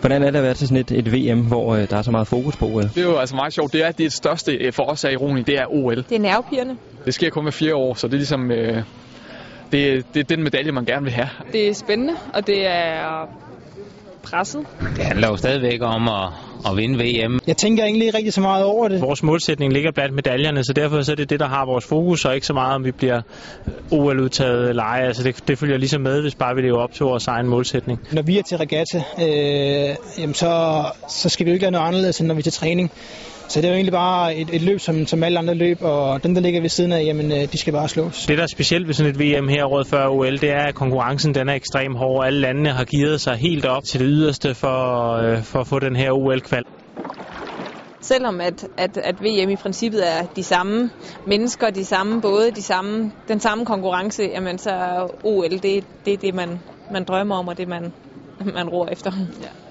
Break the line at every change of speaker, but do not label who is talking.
Hvordan er det at være til sådan et, et VM, hvor øh, der er så meget fokus på OL?
Det er jo altså meget sjovt. Det er det største øh, for os af ironi, det er OL.
Det er nervepirrende.
Det sker kun hver fire år, så det er ligesom... Øh, det, det er den medalje, man gerne vil have.
Det er spændende, og det er presset.
Det handler jo stadigvæk om at, at vinde VM.
Jeg tænker egentlig ikke rigtig så meget over det.
Vores målsætning ligger blandt medaljerne, så derfor så er det det, der har vores fokus, og ikke så meget, om vi bliver OL-udtaget eller ej. Altså det, det følger ligesom med, hvis bare vi lever op til vores egen målsætning.
Når vi er til regatta, øh, jamen så, så skal vi jo ikke gøre noget anderledes, end når vi er til træning. Så det er jo egentlig bare et, et løb, som, som alle andre løb, og dem, der ligger ved siden af, jamen, øh, de skal bare slås.
Det, der er specielt ved sådan et VM her året før OL, det er, at konkurrencen den er ekstremt hård. Alle landene har givet sig helt op til det yderste for, øh, for at få den her OL-kval.
Selvom at, at, at VM i princippet er de samme mennesker, de samme både, de samme, den samme konkurrence, jamen så er OL det, det er det, man, man drømmer om, og det man, man roer efter. Ja.